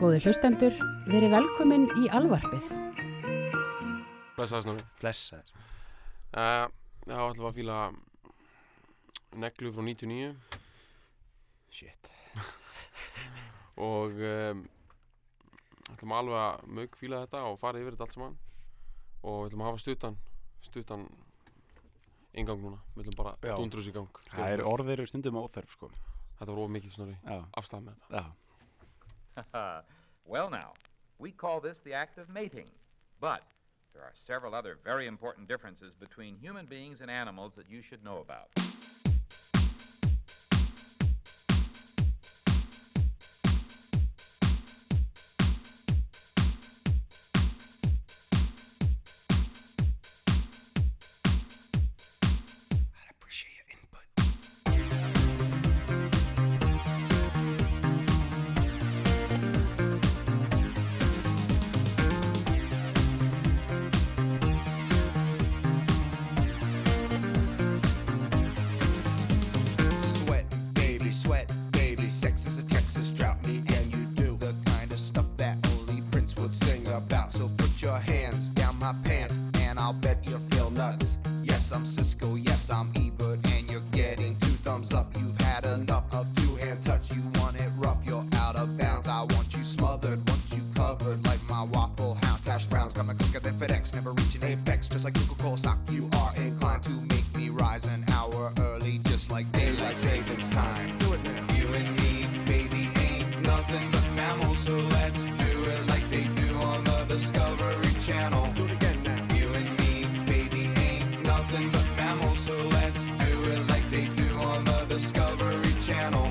Góði hlustendur, verið velkomin í alvarpið. Blessaði Snorri. Blessaður. Uh, já, ætlum við að fíla neglu frá 99 Shit. og um, ætlum alveg að mög fíla þetta og fara yfir þetta allt saman og ætlum að hafa stuttan, stuttan ingang núna. Við ætlum bara Já. dundrus í gang. Það er orðir stundum óþörf sko. Þetta var of mikið Snorri. Já, Afstæð með þetta. já. Uh, well, now, we call this the act of mating. But there are several other very important differences between human beings and animals that you should know about. Sweat, baby, sweat, baby. Sex is a Texas drought. Me and you do the kind of stuff that only Prince would sing about. So put your hands down my pants, and I'll bet you feel nuts. Yes, I'm Cisco. Yes, I'm Ebert, and you're getting two thumbs up. You've had enough of two-hand touch. You want it rough? You're out of bounds. I want you smothered, want you covered like my waffle house hash browns. Coming quicker than FedEx, never reaching apex. Just like Coca-Cola stock, you are inclined to make me rise an hour early, just like daylight savings time. Do it now. You and me, baby, ain't nothing but mammals, so let's do it like they do on the Discovery Channel. Do it again now. You and me, baby, ain't nothing but mammals, so let's do it like they do on the Discovery Channel.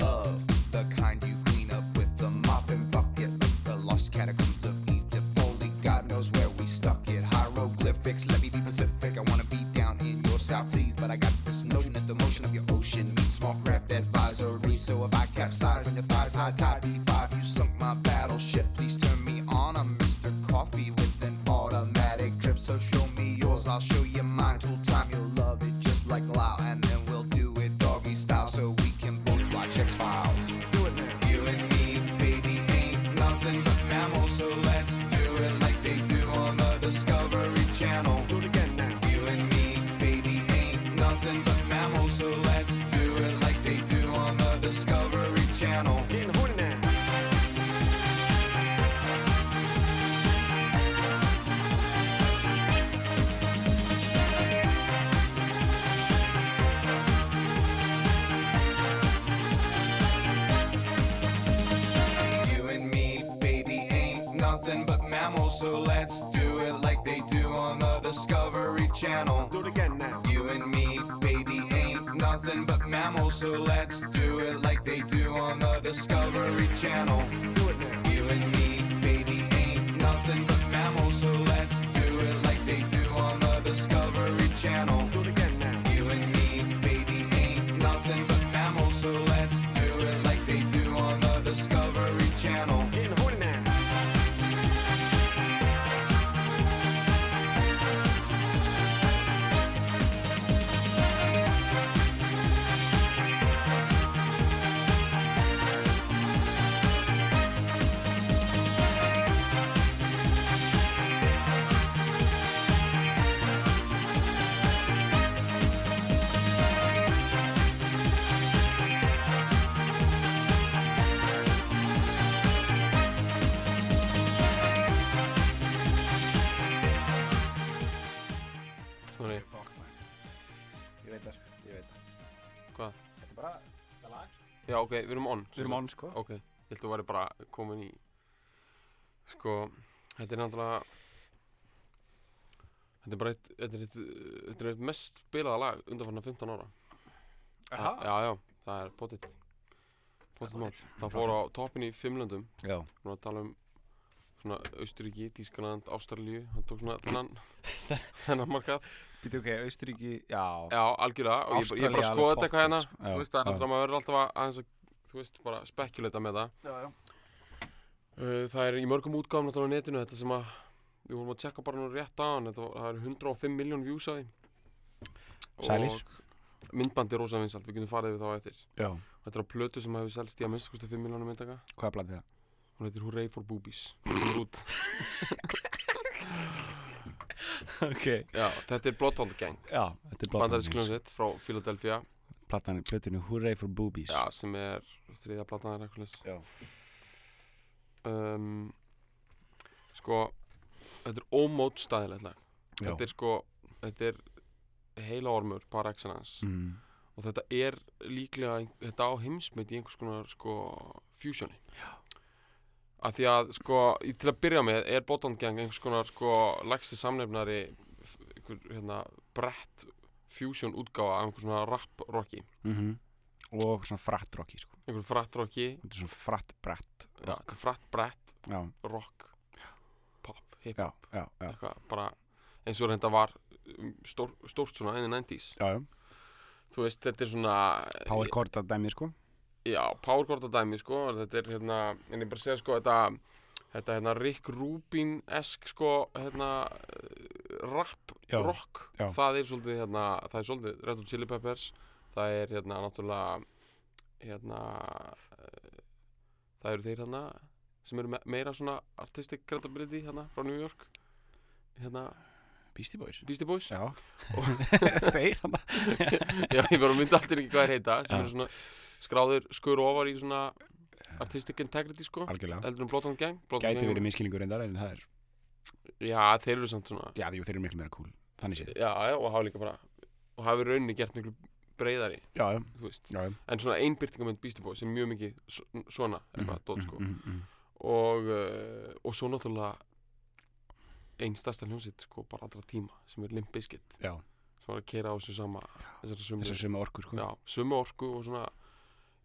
Of the kind you clean up with the mop and bucket, like the lost catacombs of Egypt. Only God knows where we stuck it. Hieroglyphics, let me be Pacific. I wanna be down in your South Seas, but I got this notion that the motion of your ocean means small craft advisory. So if I capsize on your thighs, high tide B5, you sunk my battleship. Please turn me on, I'm Mr. Coffee with an automatic drip. So show me yours, I'll show you mine. Till time you'll love it just like Lao, and then we'll do it doggy style so we can both watch X Files. Do it now. You and me, baby, ain't nothing but mammals, so let's do it like they do on the Discovery Channel. Do it again now. You and me, baby, ain't nothing but mammals, so let's do it like they do on the Discovery Channel. Getting horny now. You and me, baby, ain't nothing but mammals, so let's do it like they do on the Discovery Channel. Do it again now. You and me, baby, ain't nothing but mammals, so let's do it like they do on the Discovery Channel. Do it now. You and me, baby, ain't nothing but mammals, so let's do it like they do on the Discovery Channel. Do it again now. You and me, baby, ain't nothing but mammals, so let's do it like they do on the Discovery Channel. Getting horny now. Snorri, Fuck man. Ég veit það, sko, ég veit það. hvað? Þetta er bara, það er lag, sko. Já, ok, við erum on. Við erum on sko. Ok, ég held að þú væri bara komin í Sko, þetta er náttúrulega Þetta er bara eitt, þetta er eitt, uh, þetta er eitt mest spilaða lag undanfarnar 15 ára Aha. Já, já, Ah. það er potið Pottenótt. Það fór á toppin í fimm löndum. Já. Við að tala um svona Austuríki, Tískaland, Ástralíu. Hann tók svona þennan, þennan markað. Býtu ok, Austuríki, já. Já, algjörlega. Og ég, bara- ég bara Ástralía skoða alveg þetta pottet, eitthvað hérna. sko. Já, Þú veist, það er já. náttúrulega, maður verður alltaf að, aðeins að, þú veist, bara spekulata með það. Já, já. Uh, það er í mörgum útgáfum náttúrulega á netinu þetta sem að, við vorum að tjekka bara nú rétt á hann. Þetta var, það er 105 miljón views að því. Sælir. Og myndbandi er rosa vinsalt, við getum farið við þá á eftir. Já. Þetta er á plötu sem hefur selst í að minnstakosti 5 miljónum myndaka. Hvað er blandið það? Hún heitir Hooray for Boobies. Hún er út. ok. Já, þetta er Bloodhound Gang, Já, þetta er blótt. bandarísk hljómsveit frá Philadelphia, Platan, plötinu Hooray for Boobies. já, sem er þriðja platan er eitthvað leys. Já. Um, sko, þetta er ómót staðilegt lag. Já. Þetta er sko, þetta er heila ormur par excellence Mm. og þetta er líklega, ein- þetta á heimsmynd í einhvers konar sko fusioni. Já. Af því að sko, í- til að byrja með er Bloodhound Gang einhvers konar sko lægsti samnefnari, f- einhver, hérna, brett fusion útgáfa af einhvers svona rap-rocki. Mhm. Og svona fratt rocki, sko. einhver fratt rocki Þetta er svona fratt brett. já, þetta er fratt brett, Já, rock pop, hip, já, já, já. eitthvað bara eins og þetta var um, stór, stórt svona inn í 90s Já, já. þú veist þetta er svona Power chord að dæmi, sko. já, powerkorta dæmi sko og þetta er hérna, en ég bara segja sko þetta þetta hérna Rick Rubin-esk sko hérna eh, rap, Já, rock já. það er svolítið hérna, það er svolítið Red Hot Chili Peppers það er hérna náttúrulega hérna eh, það eru þeir hérna sem eru me meira svona artistic credibility hérna frá New York hérna Beastie Boys. Beastie Boys Já. Og- Þeir hann Já, ég bara myndi alltaf ekki hvað þeir heita sem Já. eru svona skráðir skur ofar í svona artistic integrity sko Algjörlega. eldur um Bloton Gang Bloton Gæti Gang- verið miskilningur reyndar, en það er, Já, þeir eru samt svona já, jú, þeir eru miklu meira cool. Þannig séð. Já, já, og hafa líka bara og hafa í rauninni gert miklu breyðari Já, já, þú veist já. já. en svona einbyrtingamönd Beastie Boys sem er mjög mikið so- svona eitthvað dót sko Mm, mm, mm. og uh, og svo náttúrulega einn stærsta hljómsitt sko bara allra tíma sem er Limp Bizkit Já, sem var að keira á þessu sama þessari sömu þessar sömu orkur, sko. Já, sömu orku og svona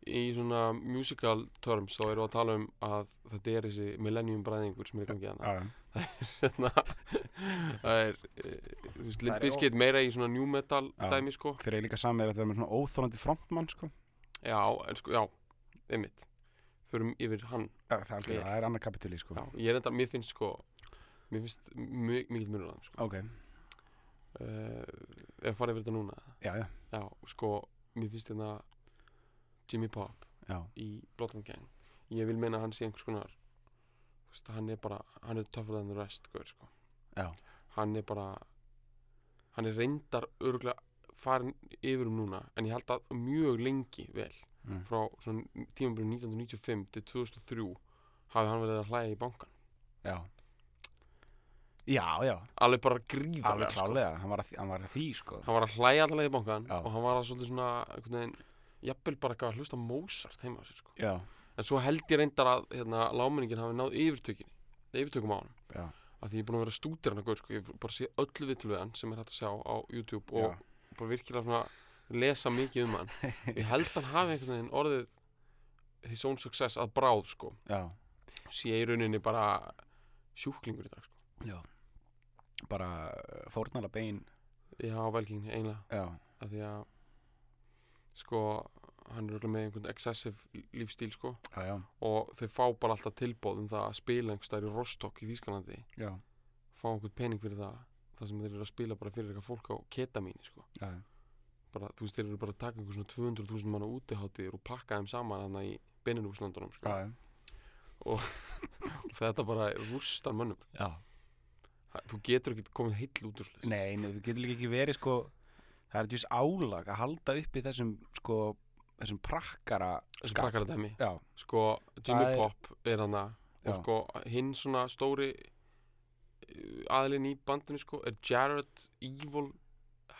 í svona musical terms þá erum við að tala um að þetta er þessi millennium bræðingur sem er í gangi hana já. hérna það er, eh, þú veist, Það Limp er ó- Bizkit meira í svona new metal Já. dæmi sko Þeir eru líka samið að það er með svona óþólandi frontmann, sko. já, en sko, já, einmitt förum yfir hann, Já, það er algjörlega, Vel. það er annar kapitúli, sko. já, ég er enda, mér finnst sko mér finnst mjög mikil munur á hann sko Ok, uh, ef farið yfir þetta núna já, já, já, sko, mér finnst þetta Jimmy Pop já, í Bloodhound Gang ég vil meina að hann sé einhvers konar þú veist, hann er bara, hann er tougher than the rest gaur, sko. Já. hann er bara hann er reyndar örgulega farin yfir um núna en ég held að mjög lengi vel Mm. frá svona tímabili 1995 til 2003 hafi hann verið að hlæja í bankan já. Já, já, alveg bara alveg gríðarlega sko. klálega, hann var að því, hann var að því, sko. hann var að hlæja alltaf í bankan Já. og hann var að svolítið svona einhvern veginn jafnvel bara gaf að hlusta á Mozart heima á sér sko. Já, En svo held ég reyndar að hérna, láminningin hafi náð yfirtökinni, yfirtökum á hann. Já. Af því ég er búinn að vera að stútir hann að gaur, sko. Ég hef bara sé öllu vitul við hann sem er hægt að sjá á YouTube og bara virkilega svona lesa mikið um hann. ég held hann hafi einhvern veginn orðið his own success að bráð, sko. já, Sé í rauninni bara sjúklingur í dag, sko. já. Bara fórnala bein, Já, velkingni, eiginlega. já, Af því að, sko, hann er örugglega með einhvern excessive lífstíl, sko. já, já, Og þau fá bara alltaf tilbóð um það að spila einhvers staðar í Rostock í Þýskalandi. já, fá einhvern pening fyrir það það sem þeir eru að spila bara fyrir eitthvað fólk á ketamíni sko. já, bara, þú veist, þeir eru bara að taka einhver svona 200.000 manna útiháttir og pakka þeim saman hann í Benelux-landunum já, sko. þetta bara rústar mönnum já. Ha- þú getur ekki komið heill út úr sless Nei, nei, þú getur líka ekki verið, sko, það er djús álag að halda uppi þessum, sko, þessum prakkara, þessu krakkara dæmi já, sko, Jimmy Það er- Pop er hann og Já. sko, hinn svona stóri uh, aðilinn í bandinu sko, er Jared Evil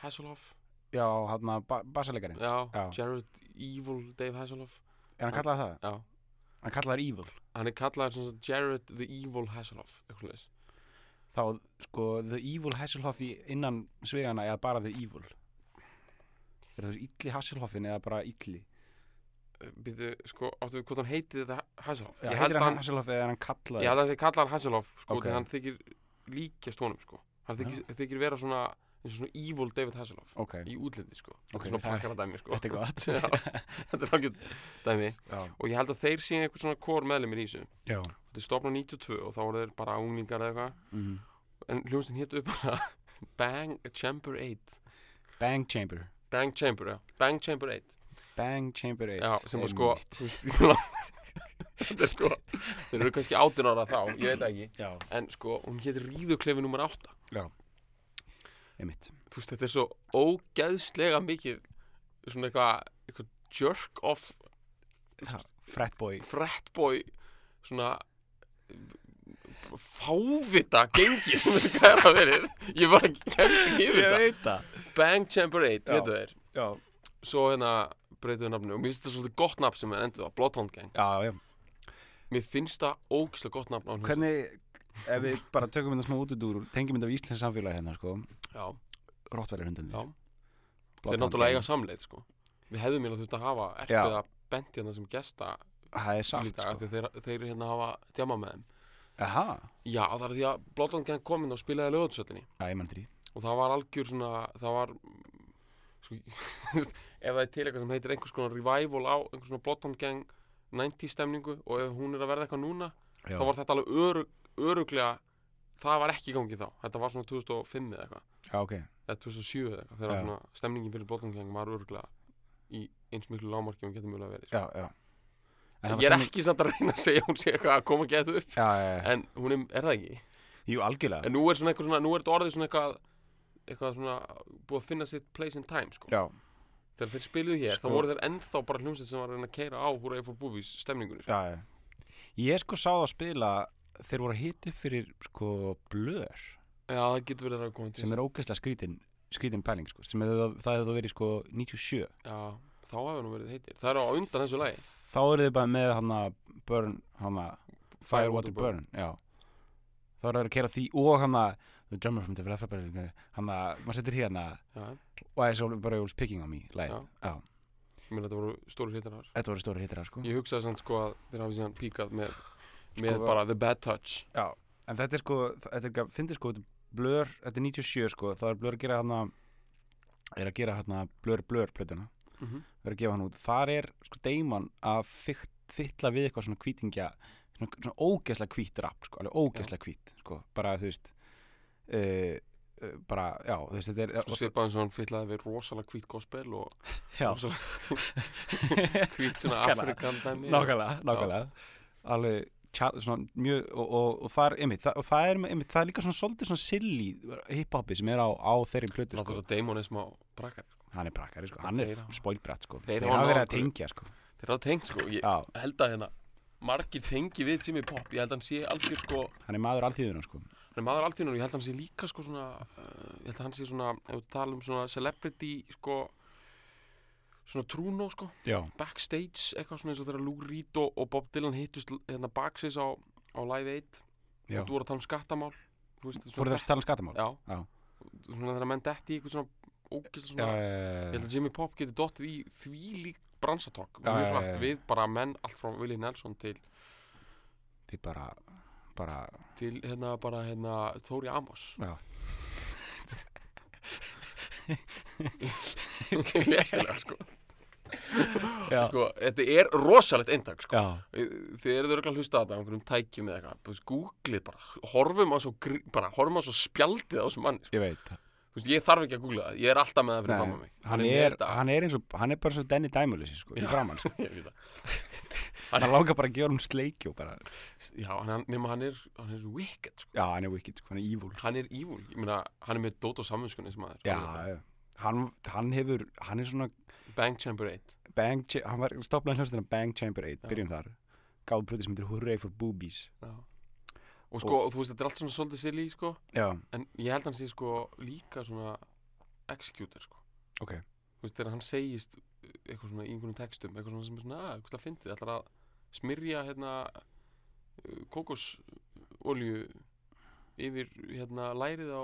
Hasselhoff já, hann að ba basalegarinn, já, Já. Jared Evil Dave Hasselhoff er hann kallað það? já Hann kallað er evil. hann er kallaður sem sagt Jared the Evil Hasselhoff eitthvað leis þá sko The Evil Hasselhoff í innan svegana eða bara The Evil er það illi Hasselhoffin eða bara illi býtu, sko, áttu við hvort hann heiti þetta Hasselhoff Já, ég heitir held hann hann, Hasselhoff eða er hann ég kallaði held að þessi kallar Hasselhoff sko, Ok. okay. hann þykir líkjast honum sko. hann þykir, þykir vera svona, eins og svona evil David Hasselhoff Ok, í útliti sko. þetta Ok, er svona það- pakkara dæmi sko. þetta er gott Já, þetta er langt dæmi Já. og ég held að þeir séu einhvern svona kór meðlumir í þessu Já. þetta er stopnað 92 og þá voru þeir bara unglingar eða eitthvað mhm. en hljómsveitin hétu bara Bang Chamber 8 Bang Chamber Bang Chamber, já, Bang Chamber 8 Bang Chamber 8 Já, sem að sko Einmitt. þú veist, ég meina, Þetta er sko Þeir eru kannski 18 ára þá, ég veit það ekki Já, En sko, hún hétir Ríðuklefi nummer 8 einmitt Þú veist, þetta er svo ógeðslega mikið Svona eitthvað eitthvað jerk off Fretboy fretboy Svona fávita gengi sem þessi kæra verið Ég bara kemst ekki yfir þetta veit það Bang Chamber 8, Já. þetta er Já, Svo hérna breytum við nafnu og mér finnst þetta svolítið gott nafn sem við endið á Bloodhound Gang já, já Mér finnst það ógeðslega gott nafn á hljómsveit. Hvernig, ef við bara tökum þetta smá út úr Tengjum þetta af íslensk samfélagi hérna, sko Já Rottværi hundinni Já. Þeir náttúrulega eiga samleið sko Við hefðum hérna þurft að hafa erfið að bendi hérna sem gesta Það er í satt, dag sko sko. þeir, þeir hérna hafa djama með þeim Aha Já það er því að Blóttan Gang kom inn og spilaði lögutisöllinni Já, ég mann þrý og það var algjör svona það var mm, sko, ef það er til eitthvað sem heitir einhvers konar revival á einhvers konar Blóttan Gang 90 stemningu og ef hún er að verða eitthvað núna Já, þá var þetta alveg örug, öruglega það var ekki í gangi þá þetta var svona 2005 eða eitthvað já ok eða 2007 eða eitthvað þegar Já. svona stemningin fyrir blóttangang var örgla í eins miklu lámarki og hún getur mjögulega verið sko. Já, já En það en var ég er stemning- ekki samt að reyna að segja að hún sé eitthvað að koma að geta upp Já, já, já en hún er, er það ekki Jú, algjörlega en nú er svona eitthvað svona, nú er þetta orðið svona eitthvað eitthvað svona búið að finna sitt place in time sko. Já, þegar þeir spiluðu hér Sko- þá voru þeir ennþá bara hljómsveit sem var að reyna að keira á Húra Eiffel Boobies stemningunni sko. já, já Ég sko sá það að spila Þeir voru að hita upp fyrir, sko, blör já það getur verið að það koma til Sem er ógeðslega skrítin Skrítin pæling, sko Sem hefði það- það hefði þá verið, sko, 97 já, þá hefur nú verið heitir það er á undan þessu lagi Þá eru þið bara með hana Burn, hana Fire, Water, Burn, já Þá eru þið að kera því og hana The drummer from the Flapper Bird Hana, maður setur hérna já, Why is everybody always picking on me Læð, Já. já ég meina þetta voru stóri hitarar Þetta voru stóri hittir sko Ég hugsaði samt sko að þeir hafi síðan píkað með, með Sko, bara The Bad Touch Já, en þetta er sko, þetta er, finnir sko, þetta er blör, þetta er 97 sko, þá er blör að gera hana, er að gera hana blör blör plötuna, mm -hmm. er að gefa hann út, þar er sko deiman að fyrt, fytla við eitthvað svona hvítingja, svona, svona ógeðslega hvít rap sko, alveg ógeðslega hvít sko, bara þú veist, uh, uh, bara, já, þú veist, þetta er, og- Svipaðan svo hann fyllaði við rosalega hvít gospel og já, rosalega hvít svona Nákvæmlega. afrikan dæmi nákvæmlega, nákvæmlega, alveg, tjá- svona mjög, og, og, og það er, einmitt, það, og það er, einmitt, það er líka svona svolítið svona silly hiphopi sem er á, á þeirri plötu sko. Náttúrulega demonism á brakkar hann er prakkari sko, hann er Þeir hafa- spoilbrætt sko Þeir þeir hafa hafa verið að nokkuð- tengja sko Þeir eru að tengja sko Ég já, held að hérna margir tengi við Jimmy Pop Ég held að hann sé algjör sko hann er maður alþýðuna sko Hann er maður alltíðunar og ég held að hann sé líka sko svona uh, Ég held að hann sé svona Ef við tala um svona celebrity sko Svona trúnó sko já, backstage eitthvað svona eins og þegar Lou Reed og, og Bob Dylan hittust l- hérna baksins á, á Live 8 Já. og þú voru að tala um skattamál þú veist, fóruð það að tala um skattamál já, Já. svona þegar menn detti í eitthvað svona ógæsla já, svona ég held að Jimmy Pop geti dottið í því lík bransatokk Já, mjög já, hrætt já. við bara menn allt frá Willie Nelson til, þið bara bara, til hérna bara hérna Tóri Amos já, Léttilega, sko. já, sko, þetta er rosalegt eintak sko. já. þið eruð örgulega að hlusta á þetta á einhverjum tækjum eða eitthvað, Þú veist, googlið bara horfum á svo, grí- bara, horfum á svo spjaldið á þessum manni sko. ég veit Þú veist, ég þarf ekki að googla það, ég er alltaf með það fyrir mamma Nei, mig hann, með er, þetta. hann er eins og, hann er bara svo Danny Dæmulis sko, í framann sko. Ég veit það. hann langar bara að gefa um sleikjó bara. Já, hann, nema hann er, hann er wicked, sko. já, hann er wicked, sko, hann er evil Hann er evil, ég meina, hann er með dót og samvinskunni sem maður. já, já. hann, hann hefur, hann er svona Bang Chamber 8. bang, Cha- hann var stopnað hljómsdina Bang Chamber 8, Já. byrjum þar gáðu bröti sem heitir Hooray for Boobies Já. Og sko, þú veist, þetta er allt svona svolítið silly, sko, já, en ég held hann sé, sko, líka svona executor, sko. Ok. Þú veist, þegar hann segist uh, eitthvað svona í einhvernum textum, eitthvað svona sem er svona, "Ah, að, eitthvað það fyndið, ætlar að smyrja, hérna, kókosolju yfir, hérna, lærið á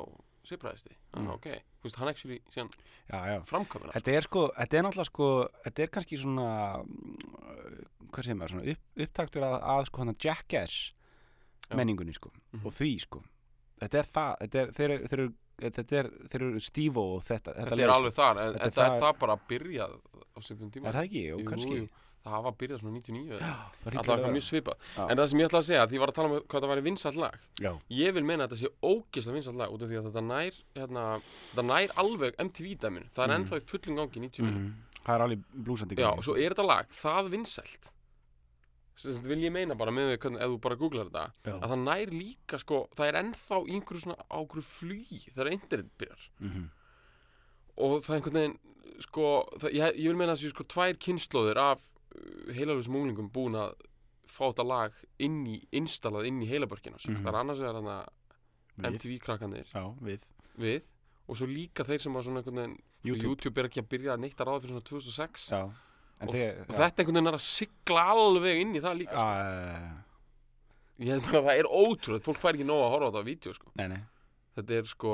sifræðisti. Mm. Mm. Ok, þú veist, hann actually, síðan já, já framkvæmina Þetta er sko, þetta er náttúrulega sko, þetta er kannski svona mm, hvað segir maður, svona upp, upptaktur að, að sko hann að jackass Já. Mhm. menningunni sko og því sko þetta er það, þetta er, þeir, eru- þeir, eru- þetta er, þeir eru stífó og þetta, þetta, Þetta leið, er sko. alveg þar, en Þetta er þetta er það- það bara að byrja á svipnum tíma er það ekki, og kannski jú. Það hafa byrjað svona 99 eða það hlýtur Alltaf að eitthvað vera. mjög svipað Já. En það sem ég ætla að segja, því ég var að tala um hvað það væri vinsall lag já, Ég vil meina að þetta sé ógeðslega vinsall lag út af því að þetta nær, hérna, þetta nær alveg MTV-dæminu Það er Mhm. ennþá í fullum gangi 99 það er alveg blúsandi Já, gangi. og svo er þetta lag það vinsælt sem þetta vil ég meina bara með því hvernig, ef þú bara googlar þetta Já. að það nær líka, sko, það er ennþá í einhverju svona ákveðu flugi þegar internet byrjar Mhm. og það er einhvern veginn, sko það, ég, ég vil meina að þessi, sko, tvær kynnslóðir af uh, heilalöfis múlingum búin að fá þetta lag inn í, installað inn í heilabörkina mm Mhm. það er annars vegar þarna Við. MTV-krakkanir já, við við og svo líka þeir sem að svona einhvern veginn YouTube, YouTube er ekki að byrja að neitt að ráða fyrir svona 2006 já en þegar og þetta einhvern veginn er að sigla alveg inn í það líka sko. uh, ég held bara að það er ótrúlega, fólk fær ekki nóg að horfa á þetta á vídeo sko. nei, nei þetta er sko,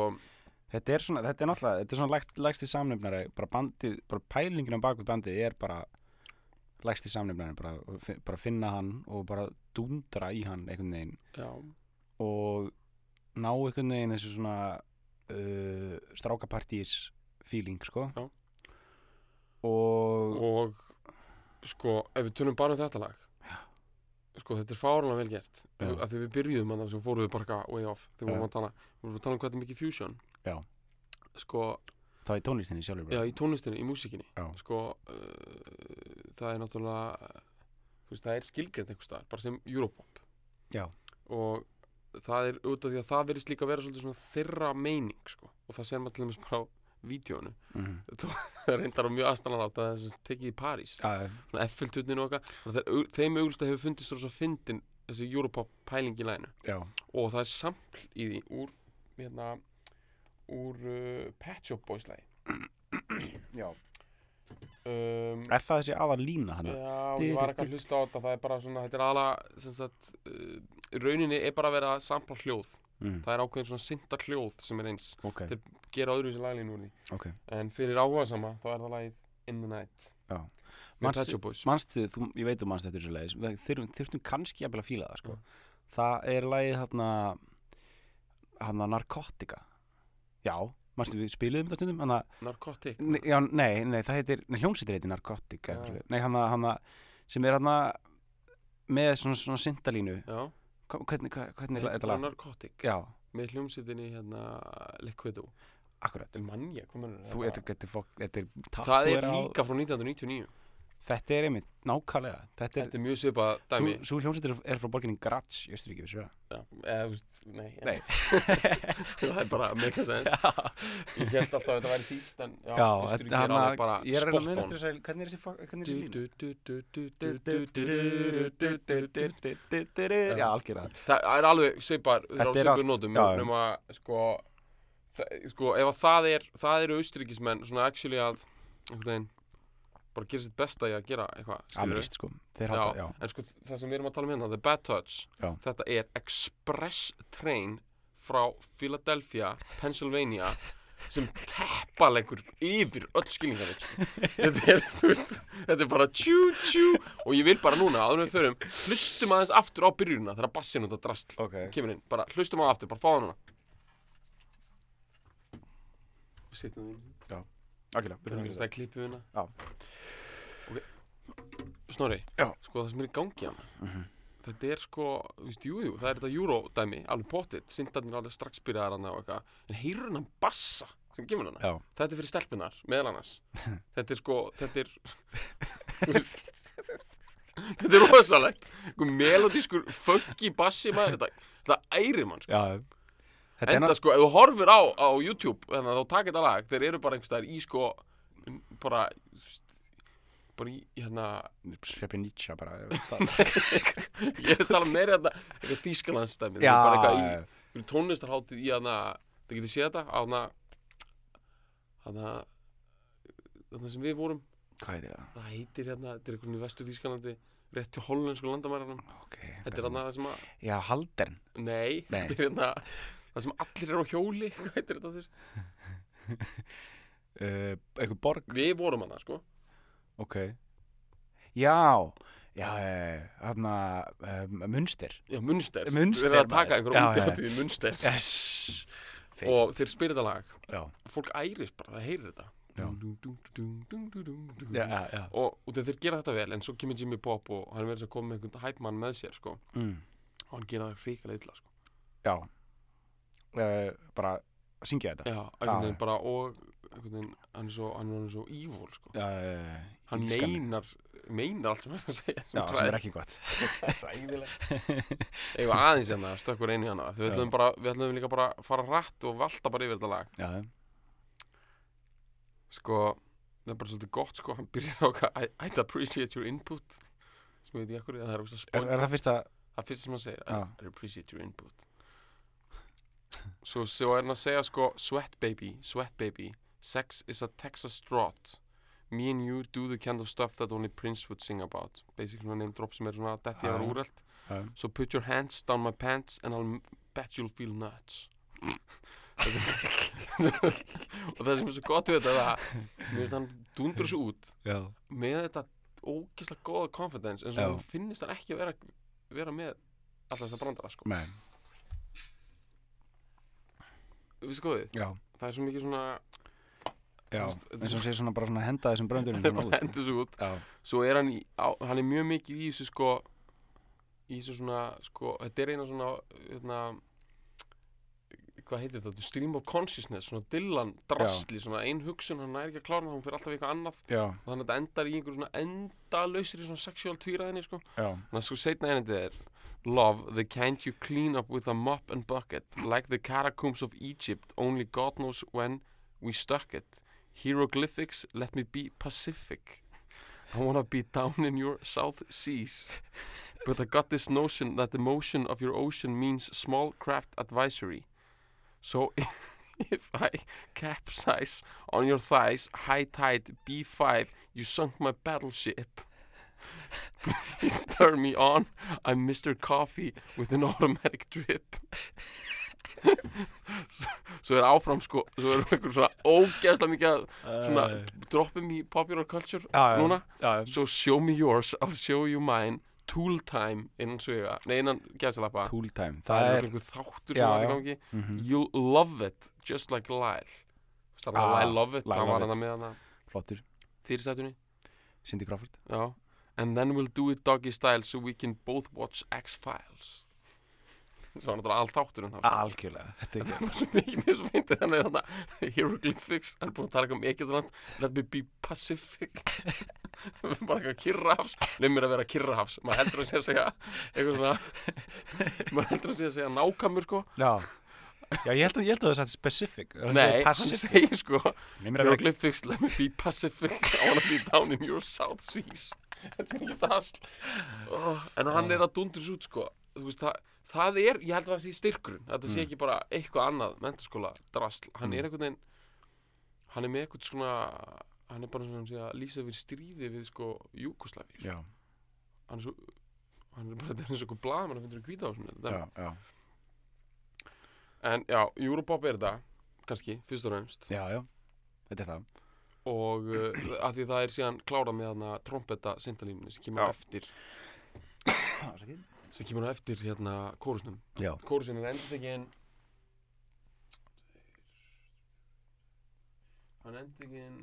Þetta er svona, þetta er náttúrulega, þetta er svona lægst, lægsti samnefnari, bara bandið, bara pælingin á bakvið bandið er bara lægsti samnefnari, bara, fi- bara finna hann og bara dundra í hann einhvern veginn já, og ná einhvern veginn þessu svona uh, strákapartís feeling, sko. Já. Og, og sko, ef við tölum bara um þetta lag sko, þetta er fárlega vel gert Já. að því við byrjuðum að það sem fóruðu bara eitthvað way off þegar við Já. vorum að tala, við vorum að tala um hvað þetta er mikið fusion Já. sko, þá í tónlistinni sjálfur já, bara. í tónlistinni, í músikinni Já. sko, uh, það er náttúrulega uh, þú veist, það er skilgreint einhvers staðar, bara sem Europop Já. og það er út af því að það verðist líka að vera svolítið svona þeirra meining sko. og það ser maður til dæmis bara á vídjónu Mhm. það reyndar á mjög aðstæðan átt að það er sem sagt tekið í París Já, já. svona F-tutin og eitthvað það er- þeim auglust hefur fundist rosa fyndin þessi Europop pæling í læginu já, og það er sampl í því úr hérna úr uh, Pet Shop Boys lægi Já. um, Er það þessi aðal lína hann? Já, ég var eitthvað að hlusta á þetta, það er bara svona, þetta er ala, sem sagt, uh, rauninni er bara að vera að sampla hljóð, Mm. það er ákveðin svona synda hljóð sem er eins, Ok, Þetta gera öðru þessi laglínu úr því, ok. en fyrir áhuga sama, þá er það lagið In the Night, Já. með Manstu- Pet Shop Boys, manstu, þú, ég veit þú manstu eftir þessu leiðis við þurfum, þurfum kannski jafnvel að fíla það Mm. sko. það er lagið hérna hérna narkotika já, manstu við spiluðum þetta stundum hana, Narcotic, ne, já, nei, nei, það heitir, nei, hljómsveitir heitir narkotika Já. nei, hana, hana, sem er hana með svona, svona syndalínu já, Hva- hvernig, hva- hvernig þetta er er þetta bara lag? Narcotic, já, með hljómsýtinni hérna Liquido, akkurat þetta er manja, hvað mennur þú, þetta, þetta, er fólk- þetta er Það er tattúerað á- líka frá 1999, þetta er einmitt, nákvæmlega þetta er, þetta er mjög svipað dæmi, svo, svo hljómsveitir er frá borginni Graz í Östuríki, vissu það? Já, eða, þú veist, nei, en- Nei. það er bara make a sense ég held alltaf að þetta væri þýst en já, Já, Austurríki þetta hérna er hann alveg bara ég er að reyna að spot on. muna eftir þess að, hvernig er þessi, fo- hvernig er þessi línu? Já, Já, algjörða það er alveg svipar þeir eru Þetta er alveg svipar allt- nótum já, já. nema sko, það- sko ef að það er það eru austuríkismenn svona actually að einhvern veginn bara gera sitt besta í að gera eitthvað skilurðu? Amrist, sko, Já, þeir halda, já, en sko það sem við erum að tala um hérna, The Bad Touch Já. þetta er express train frá Philadelphia, Pennsylvania sem teppaleikur yfir öll skilningar sko. þetta, er, þú veist, þetta er bara tjú tjú og ég vil bara núna áður en við förum hlustum aðeins aftur á byrjunina þegar bassin út að drastl Ok. kemur inn, bara hlustum aðeins aftur, bara fá það núna setjum það inn algjörða Það er klippið hérna Já. Ok Snorri Já. Mhm. Sko það sem er í gangi hérna Þetta er sko, þú veist, jú, jú, það er þetta eurodæmi, alveg pottitt, syndarnir alveg strax byrjaðar hana og eitthvað, en heyrur hann bassa sem kemur hana. Já. Þetta er fyrir stelpunar, meðal annars. þetta er sko, þetta er, þú veist, þetta er rosalegt. Sko melodískur, funky bassi maður, þetta, þetta ærir mann, sko. Já, þetta er Enda náttúrulega sko, ef þú horfir á, á YouTube þannig að þá taka þetta lag, þeir eru bara einhvers staðar í sko, n- bara þú veist, bara í, hérna Sveppi Nietzsche bara ég veit það. ég er að tala meira um þetta, eitthvað Þýskalandsdæmi Já, bara já, já. eitthvað í, í tónlistarháttið í hana það getið séð þetta, á hana hana þarna sem við vorum, Hvað heitir það? það heitir hérna þetta er einhvern í vestu Þýskalandi, rétt til hollensku landamæranum, Ok þetta er hana það sem að Já, Haldern Nei, Nei. þetta er hérna það sem allir eru á hjóli, hvað heitir þetta þess? uh, Eitthvað borg Við vorum hana, sko Ok Já, já, hann að um, munster Já, Munster. Munster, Við erum að taka maður. einhverja Já, úti já, já. hátíð í Munster. yes. Og þeir spyrir þetta lag. já, Fólk æris bara, það heyrir þetta. Já. Dún, dún, dún, dún, dún, dún, dún. já, já, já. Og, og þeir gera þetta vel, en svo kemur Jimmy Pop og hann verður að koma með einhvern hype mann með sér, sko. Mm. Og hann gera það hrikalega illa, sko. já. Uh, bara syngja þetta Já, einhvern veginn bara, og einhvern veginn, hann er svo, hann er orðinn svo evil, sko. já, uh, Hann meinar, meinar allt sem hann er að segja. já, sem er ekki gott Eða aðeins hérna, stökkur einu hérna. Við ætlum, bara, við ætlum líka bara að fara rætt og valta bara yfir þetta lag. já, sko, það er bara svolítið gott sko, hann byrjar á okkar I, I'd appreciate your input sem ég veit ekki ekkur, það er okkur er, spónt er það fyrsta það er fyrst sem hann segir, Já. I, I appreciate your input svo, svo er hann að segja sko sweat baby, sweat baby sex is a Texas drought me and you do the kind of stuff that only Prince would sing about basically svona name drop sem er svona detti Já, yfir já. úrelt já, so put your hands down my pants and I'll bet you'll feel nuts og það sem er svo gott við þetta er að mér finnst hann dundur svo út já, með þetta ógeðslega góða confidence en Já. svo honum finnist hann ekki að vera, vera með alltaf þess að brandara sko nei, við skoðið, já, það er svo mikið svona já Þú veist, þetta er eins og svo- hann sé svona bara svona að henda þessum bröndurinn hann er svona bara út. hendur svo út já, svo er hann, í, á, hann er mjög mikið í þessu sko í þessu svona sko, þetta er eina svona hérna, hvað heitir þetta, stream of consciousness svona dillan drastli, svona ein hugsun hann er ekki að klára, hann fyrir alltaf í eitthvað annað já, og þannig að þetta endar í einhver svona endalausri svona sexual tvíraðinni sko já, Þannig að sko seinna einandi er Love, the kind you clean up with a mop and bucket Like the catacombs of Egypt Only God knows when we stuck it Hieroglyphics, let me be Pacific I wanna be down in your South Seas But I got this notion that the motion of your ocean means small craft advisory So if I capsize on your thighs High tide B5 You sunk my battleship Please turn me on. I'm Mr. Coffee with an automatic drip. S- svo er áfram sko, svo er einhver svona ógeðslega mikið að svona droppum í popular culture já, núna. já, já. So show me yours, I'll show you mine. Tool time innan svega, nei innan gæðsalappa. tool time Það er einhver þáttur Já, sem var í já. gangi. mhm. You'll love it, just like Lyle. Það var Ah, Lyle Love It, Lyle það Love var It. hana með hana flottur, fyrirsætunni. Cindy Crawford Já, and then we'll do it doggy style so we can both watch X-Files Svo var náttúrulega allt átturinn þá algjörlega, þetta er ekki Svo mikið mér svo myndi þannig þannig Hieroglyphics, hann er búin að tala um Egyptaland Let me be Pacific Bara eitthvað Kirrahafs Leif mér að vera Kirrahafs, maður heldur að sé að segja Eitthvað svona Maður heldur að sé að segja nákvæmur sko já, já, ég held að, ég held að það er sagt specific Hann Nei, segir hann passive. segir sko Mig mér að vera- Hieroglyphics, let me be Pacific I wanna be down in your South Seas Þetta er mikið hasl oh, En hann er að dundur svo út sko Þú veist, það, það er, ég held að það sé styrkurinn Þetta Mm. sé ekki bara eitthvað annað mentaskóla drasl, hann er einhvern veginn hann er með eitthvað svona hann er bara svona sé, að lýsa yfir stríði við sko Júkoslavi sko. já, hann er svo hann er bara, þetta er eins og eitthvað blað mann að finnur að hvita á svona já, já, en já, Europop er þetta kannski, fyrst og raunst já, já þetta er það, og uh, að því það er síðan klárað með hana trompeta syndalínunni sem kemur á Já. eftir sem kemur á eftir hérna kórusnum já, kórusin er endur tegin hann endur tegin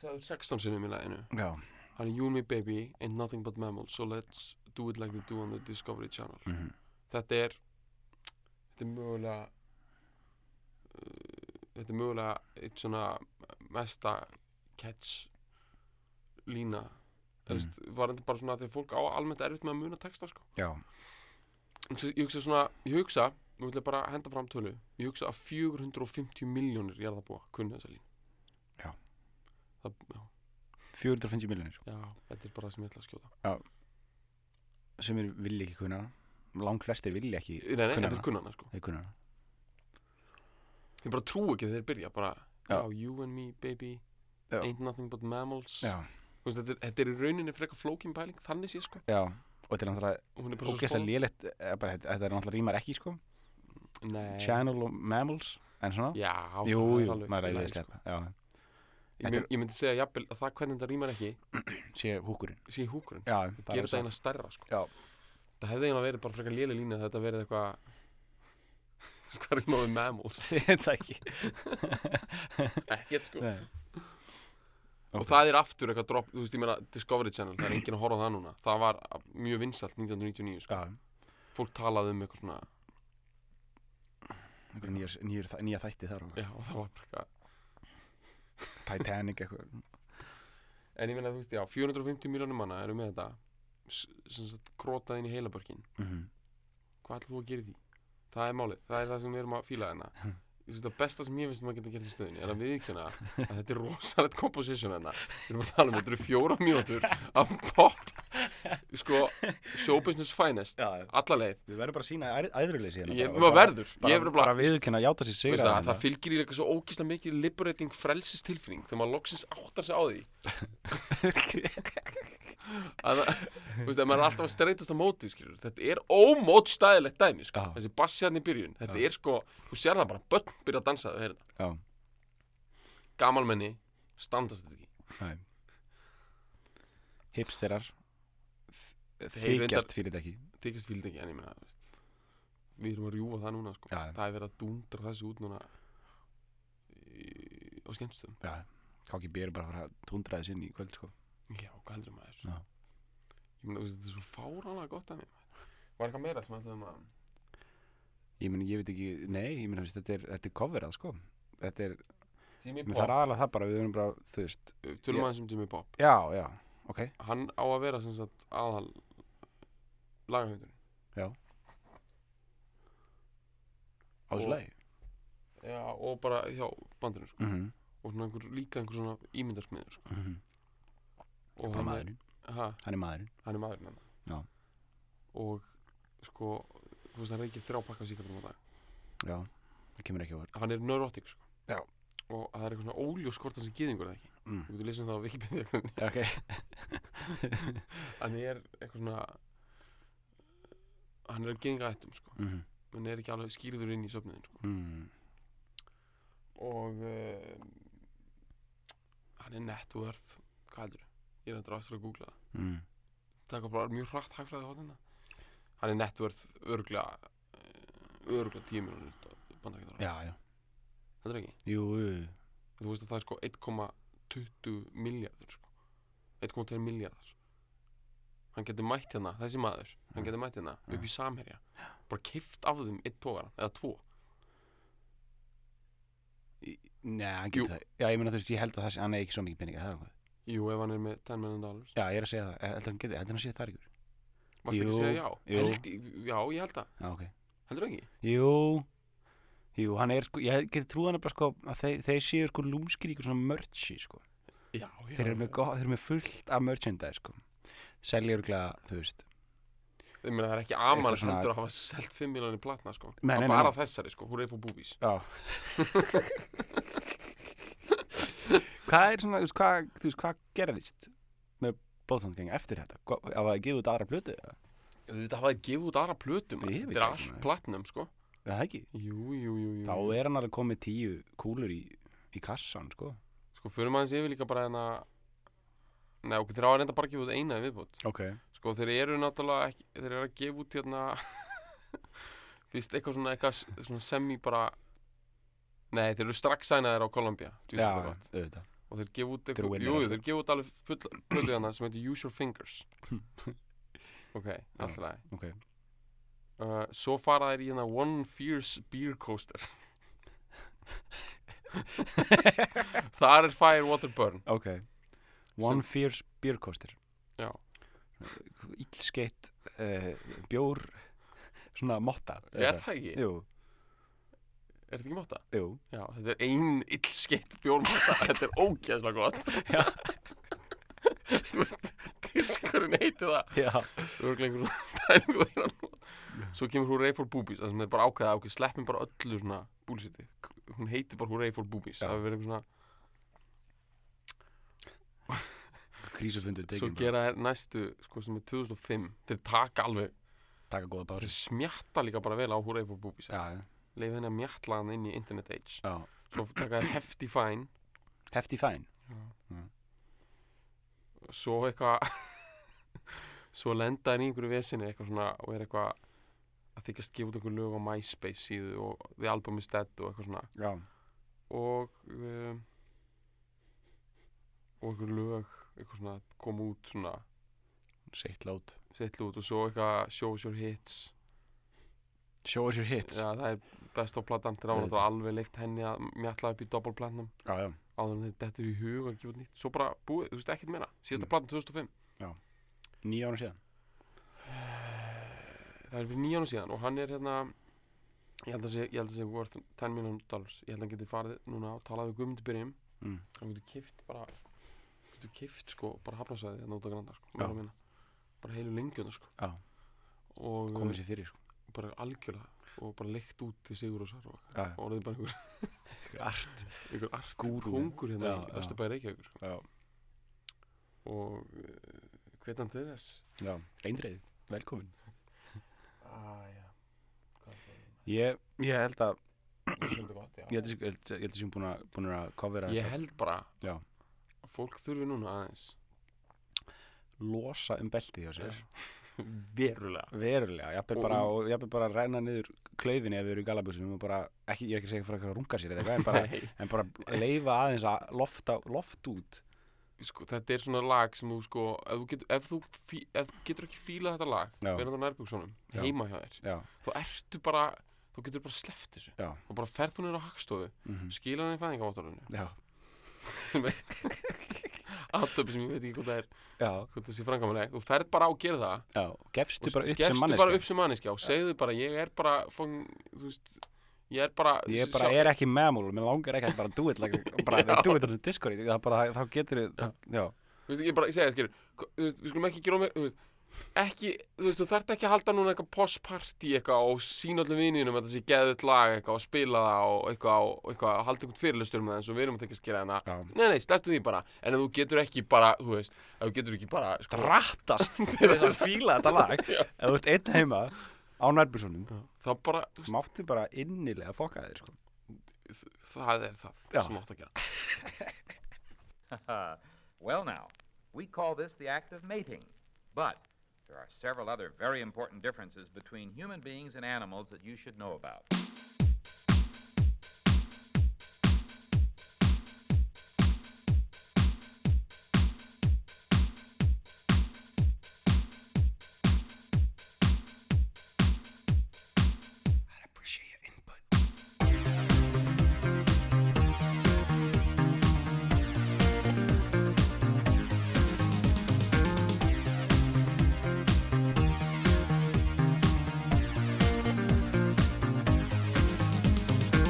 það er 16 sinnum í laginu já, hann er You and Me Baby ain't nothing but mammals so let's do it like they do on the Discovery Channel Mhm. þetta er þetta er mögulega uh, þetta er mögulega eitt svona mesta catch lína mm. veist, var þetta bara svona þegar fólk á almennt erfitt með að muna texta sko já, Ég hugsa- ég hugsa svona, ég hugsa nú ætla ég bara að henda fram tölu ég hugsa að 450 miljónir ég er það búa kunni þessa lína Já. það, já, 450 miljonir já, þetta er bara það sem ég ætla að skjóta sem er vilja ekki kunna hana lang flestir vilja ekki Nei, nei, kunna þetta er hana kunnana sko þeir kunna hana Ég bara trú ekki þegar þeir byrja bara Já, Já. you and me baby Já. Ain't nothing but mammals já, Þú veist, þetta, er- þetta er í rauninni frekar flókin pæling Þannig sé sko já, og þetta er náttúrulega Og Hún er bara svo ógeðslega lélegt eh, bara þetta þetta er náttúrulega rímar ekki sko spóð Nei Channel og Mammals en svona Já, jú, það er jú, alveg maður í er lagi, að sko. sleppa já, Ég, mynd, ég myndi segja jafnvel að það hvernig þetta rýmar ekki sé húkurinn sé húkurinn, já, gera það er þetta satt. eina stærra sko. Já. það hefði eiginlega verið bara frekar léli lína þetta verið eitthvað hvað er maður mammals Ég veit það ekki ekkert sko Nei. og það er aftur eitthvað drop, þú veist ég meina Discovery Channel, það er enginn að horfa á það núna það var mjög vinsalt 1999 sko. Já, fólk talaði um eitthvað svona einhverja nýjar- nýjar þæ- nýja þætti þar og já, og það var bara eitthvað Titanic eitthvað en ég meina þú veist, já, 450 miljónum manna eru með þetta s- sem sagt krótað inn í heilabörkin Mhm. hvað ætlum þú að gera í því? það er málið, það er það sem við erum að fíla hérna Þú veist, það besta sem ég finnst um að maður geta að gera í stöðinni er að viðkjöna að þetta er rosalegt composition hérna við erum að tala um, þetta eru fjóra mínútur af pop sko, show business finest Já, alla leið við verðum bara að sína æðruleysi Ég- maður verður. Ég hérna Bara, verður bara- bara viðurkenna að játa hérna. Þú sér sigra veist að það fylgir í eitthvað svo ógísla mikið liberating frelsistilfinning þegar maður loksins áttar sig á því að það, þú veist að maður er alltaf að streytast á móti skilur. þetta er ómótstæðilegt dæmi sko. Já. þessi bassjarn í byrjun þetta er sko, þú sér það bara börn byrja að dansa þau heyrða, Já, gamalmenni standast þetta ekki næ Hipsterar þ- Þeir reyndar- Þykjast fyrir þetta ekki tekist fíld ekki en ég meina þú veist, við erum að rjúfa það núna sko. Já. það er verið að dúndra þessu út núna í, á skemmstöðum Já, KGB er bara að fara að tundra þessu inn í kvöld sko Já, hvað heldur maður? Já. Ég meina, þú veist, þetta er svo fáránlega gott að mér. Var eitthvað meira sem ætlaðum að... Ég meni, ég veit ekki, nei, ég meni, þetta er, þetta er coverað sko Þetta er, Jimmy menn, það er Pop, aðalega það bara, við verðum bara, þú veist tölum aðeins um Jimmy Pop. Já, já, ok, Hann á að vera sem sagt aðal lagahöndurinn. á þessu Og- lagi Já, og bara hjá bandurinn, sko. Mhm, Og svona einhver, líka einhver svona ímyndarsmiður, sko. mhm, Og bara hann er... maðurinn, Ha, hann er maðurinn hann er maðurinn hann. Já. Og, sko, þú veist, hann reykir þrjá pakka síkartum á dag. Já, það kemur ekki á vörð Hann er neurotik, sko. Já. Og það er eitthvað svona óljós hvort hann sem gýðingur eða ekki. Mm. Þú getur lesið um það á Wikipedia. Ok, hann er eitthvað svona hann er að genga ættum sko mhm, hann er ekki alveg skýrður inn í söfniðin sko. mhm og uh, hann er net worth hvað heldur ég er endur aftur að googla það Mm. það er bara mjög hratt hægfræði hóttina hann er eh, net worth örgla örgla tímur bandarækjadara Já, já, þetta er ekki jú, jú, jú. þú veist að það er sko 1,20 miljardur sko. 1,2 miljardar hann getur mætt hérna, þessi maður Mm. hann getur mætt hérna upp í samherja bara kift af þeim einn tógaran eða tvo Nei, hann Jú. getur það Já, ég meina þú veist, ég held að það sé, hann er ekki svo mikið peninga, það er okkur jú, ef hann er með 10 million dollars Já, ég er að segja það, ég held að hann getur, held að hann sé það ykkur varst ekki Jú, að segja já? jú. Held, já, ég held það, Já, ok heldur ekki Jú, jú, hann er sko, ég geti trúið hann bara sko að þeir, þeir séu sko lúmskir í ykkur svona merchi, sko já, já, Þeir eru með, go, þeir eru með fullt af merchandise, sko Selja örgulega, þú veist Ég meina, það er ekki aman Eitthvað svona- heldur að hafa selt 5 miljonir platna sko. Nei, nei, nei, Að bara nei. þessari, sko, húr eif og búbís Já Hvað er svona, þú veist, hvað, þú veist, hvað gerðist með Bóðsandgeng eftir þetta? Hvað- Hafa það gefið út aðra plötu? eða? þetta hafaði gefið út aðra plötum Ég veit þetta er ekki, allt nei. platnum sko. Er það ekki? jú, jú, jú, jú. Þá er hann alveg komið tíu kúlur í, í kassan, sko Sko, förum aðeins yfir líka bara hérna Nei, ok, þeir hafa reynda bara að gefa út eina í viðbót Ok Sko, þeir eru náttúrulega ekki Þeir eru að gefa út hérna Fyrst eitthvað svona, eitthvað s- svona semi bara Nei, þeir eru strax sænaðir á Columbia djú, Já, þetta er gott. auðvitað Og þeir gefa út eru eitthvað winner Jú, jú, alveg. þeir gefa út alveg full- plötu hérna sem heitir Use Your Fingers Ok, alltaf lagi Ok uh, Svo fara þeir í hérna One Fierce Beer Coaster Þar er Fire Water Burn Ok One Fierce Beer Coaster Já. Ílskeitt uh, bjór svona motta Er það ekki? Jú, Er þetta ekki mátta? jú Já, þetta er ein illskeitt bjórmáta Þetta er ógeðslega gott Já. Þú veist, diskurinn heiti það Já Örglega einhver pælingu þeirra nú Svo kemur hún Ray for Boobies Það sem er bara ákveða ákveð Sleppum bara öllu svona búlsiti Hún heiti bara hún Ray for Boobies Já. Það hefur verið einhver svona Krísufundu Svo tekin bara gera þær næstu Sko sem er 2005 Þeir taka alveg Taka góða bási Þeir smjatta líka bara vel á hún Ray for Boobies Já, já, Leif henni að mjatla hann inn í internet age já Svo taka þær hefty fine Hefty Fine Já. svo eitthvað svo lenda henni í einhverju vesinni eitthvað svona og er eitthvað að þykjast gefa út einhver lög á MySpace síðu og The Album is Dead og eitthvað svona Já, og um, og einhver lög eitthvað svona kom út svona seitt lát setlu út og svo eitthvað Show Us Your Hits Show us your hits Já, það er best of platan þegar Auðvitað. áður þá alveg leift henni að mjalla upp í doppelplatnum já, já. áður en þeir dettur í hug að gefa út nýtt svo bara búið, þú veist ekkert meina Mm. síðasta platan 2005 Nýja ára síðan það er fyrir nýjánu síðan og hann er hérna ég held að sé, ég held að sé worth 10 million dollars ég held að hann geti farið núna og talað við Guðmundur um Byrjum Mm. hann getur kift bara getur kift sko, bara hafnarsæði hérna út á granda sko, Já. meira og minna. bara heilu lengjuna sko Já. og Komið sér fyrir uh, sko bara algjörlega og bara leikt út til Sigur og Sar og Já, og orðið bara einhver, art einhver art Gúrú. kongur hérna Já, í já. Östurbæði Reykjavík sko. Já, og uh, hvetan til þess já, eindreið, velkomin ah, já. hvað er það? Ég, ég held að Ég held að gott, já. Ég held að ég held- ég held að séum búin að, búin að covera Ég held bara Já. að fólk þurfi núna aðeins þetta Losa um beltið hjá sér verulega Verulega, ég Og- bara, og um- ég bara að renna niður klaufinni ef við erum í galabúsum og bara, ekki, ég er ekki að segja fyrir að runga sér eða eitthvað, en bara, Nei, en bara leifa aðeins að lofta, loft út sko, þetta er svona lag sem þú sko ef þú getur, ef þú fí, ef þú getur ekki fílað þetta lag Já. verðan á nærbuksónum Já. heima hjá þér Já, þá ertu bara þá getur bara sleppt þessu Já. og bara ferð þú niður á hagstofu mm skila hann í fæðingaváttalunni já, sem er aðtöpi sem ég veit ekki hvað það er já, hvað það sé frangamanlega þú ferð bara á að gera það já Gefstu og bara upp sem gefstu bara manneskja upp sem manneskja og segðu bara ég er bara fóng, þú veist ég er bara Ég bara sjá- er ekki meðmúl, mér langar ekki að bara do it like, bara do it on the Discord það bara, þá getur við, já, Þú veist, ég bara, ég segja, skilur, hva- þú veist, við skulum ekki gera mér, þú veist, ekki, þú veist, þú þarft ekki að halda núna eitthvað postparty eitthvað og sína öllum vininum að það sé geðið lag eitthvað og spila það og eitthvað og eitthvað og halda eitthvað fyrirlistur með það eins og við erum að tekja skera þarna. já. Nei, nei, slepptu því bara, en ef þú getur ekki bara, þú veist, ef þú getur ekki bara, sko, drattast til þess að fíla þetta lag ef þú ert einn heima á nærbjörnsonum þá bara, þú veist, máttu bara innilega fokka þér sko. það er það Já. sem átt að gera. Uh, well, now, we call this the act of mating. But there are several other very important differences between human beings and animals that you should know about. I'd appreciate your input.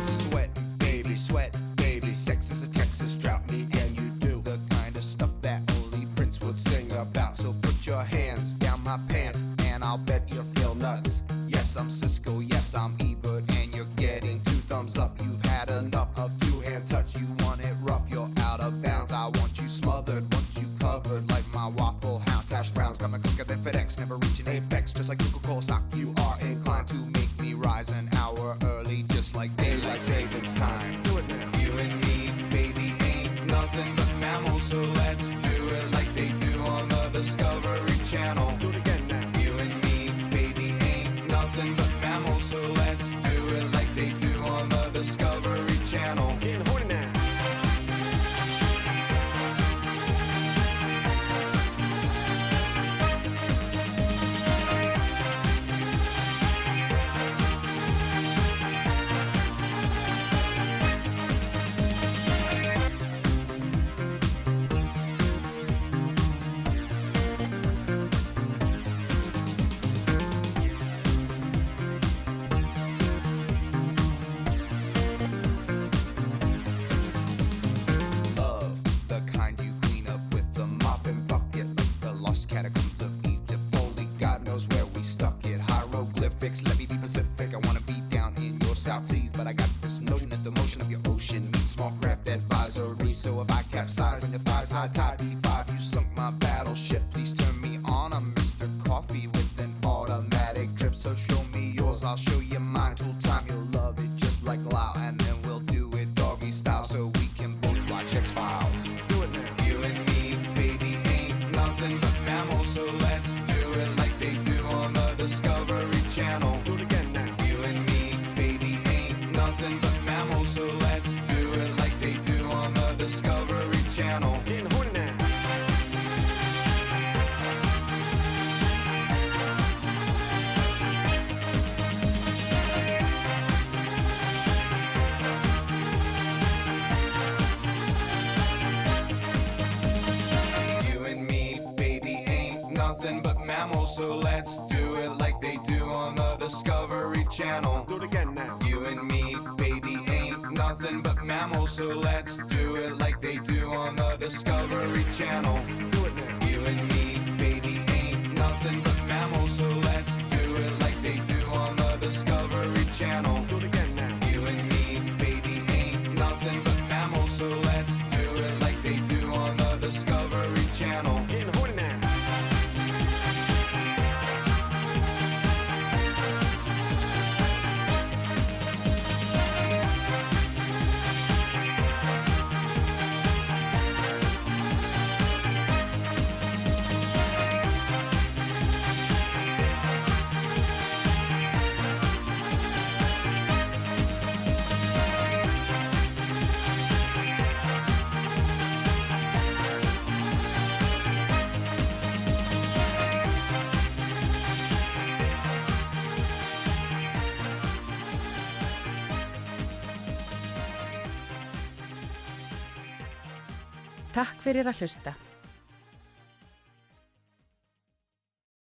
Sweat, baby, sweat, baby. Sex is a Texas drought, me and you do the kind of stuff that only Prince would sing about. So put your hands down my pants, and I'll bet you feel nuts. Yes, I'm Cisco, yes, I'm Ebert, and you're getting two thumbs up. You've had enough of two hand touch. You want it rough, you're out of bounds. I want you smothered, want you covered like my Waffle House hash browns. Coming quicker than FedEx, never reaching apex. Just like Coca Cola stock, you are inclined to make me rise an hour early, just like daylight savings time. Do it now. You and me, baby, ain't nothing but mammals, so let's do it like they do on the Discovery Channel. Do it again now. You and me, baby, ain't nothing but mammals, so let's do it like they do on the Discovery Channel. of the kind you clean up with the mop and bucket like the lost catacombs of Egypt. Only God knows where we stuck it. Hieroglyphics, let me be Pacific. I wanna be down in your South Seas, but I got this notion that the motion of your ocean means small craft advisory. So if I capsize on your thighs, high tide B5, you sunk my battleship. Please turn me on. I'm Mr. Coffee with an automatic drip. So show me yours, I'll show you mine. Till time you'll love it just like Lao, and then we'll do it doggy style so we can both watch X Files. Do it now. nothing but mammals, so let's do it like they do on the Discovery Channel. Do it again now. You and me, baby, ain't nothing but mammals, so let's do it like they do on the Discovery Channel. Do it now. You and me, baby, ain't nothing but mammals, so let's do it like they do on the Discovery Channel. Do it again now. You and me, baby, ain't nothing but mammals, so let's do it like they do on the Discovery Channel. Getting horny now. Takk fyrir að hlusta.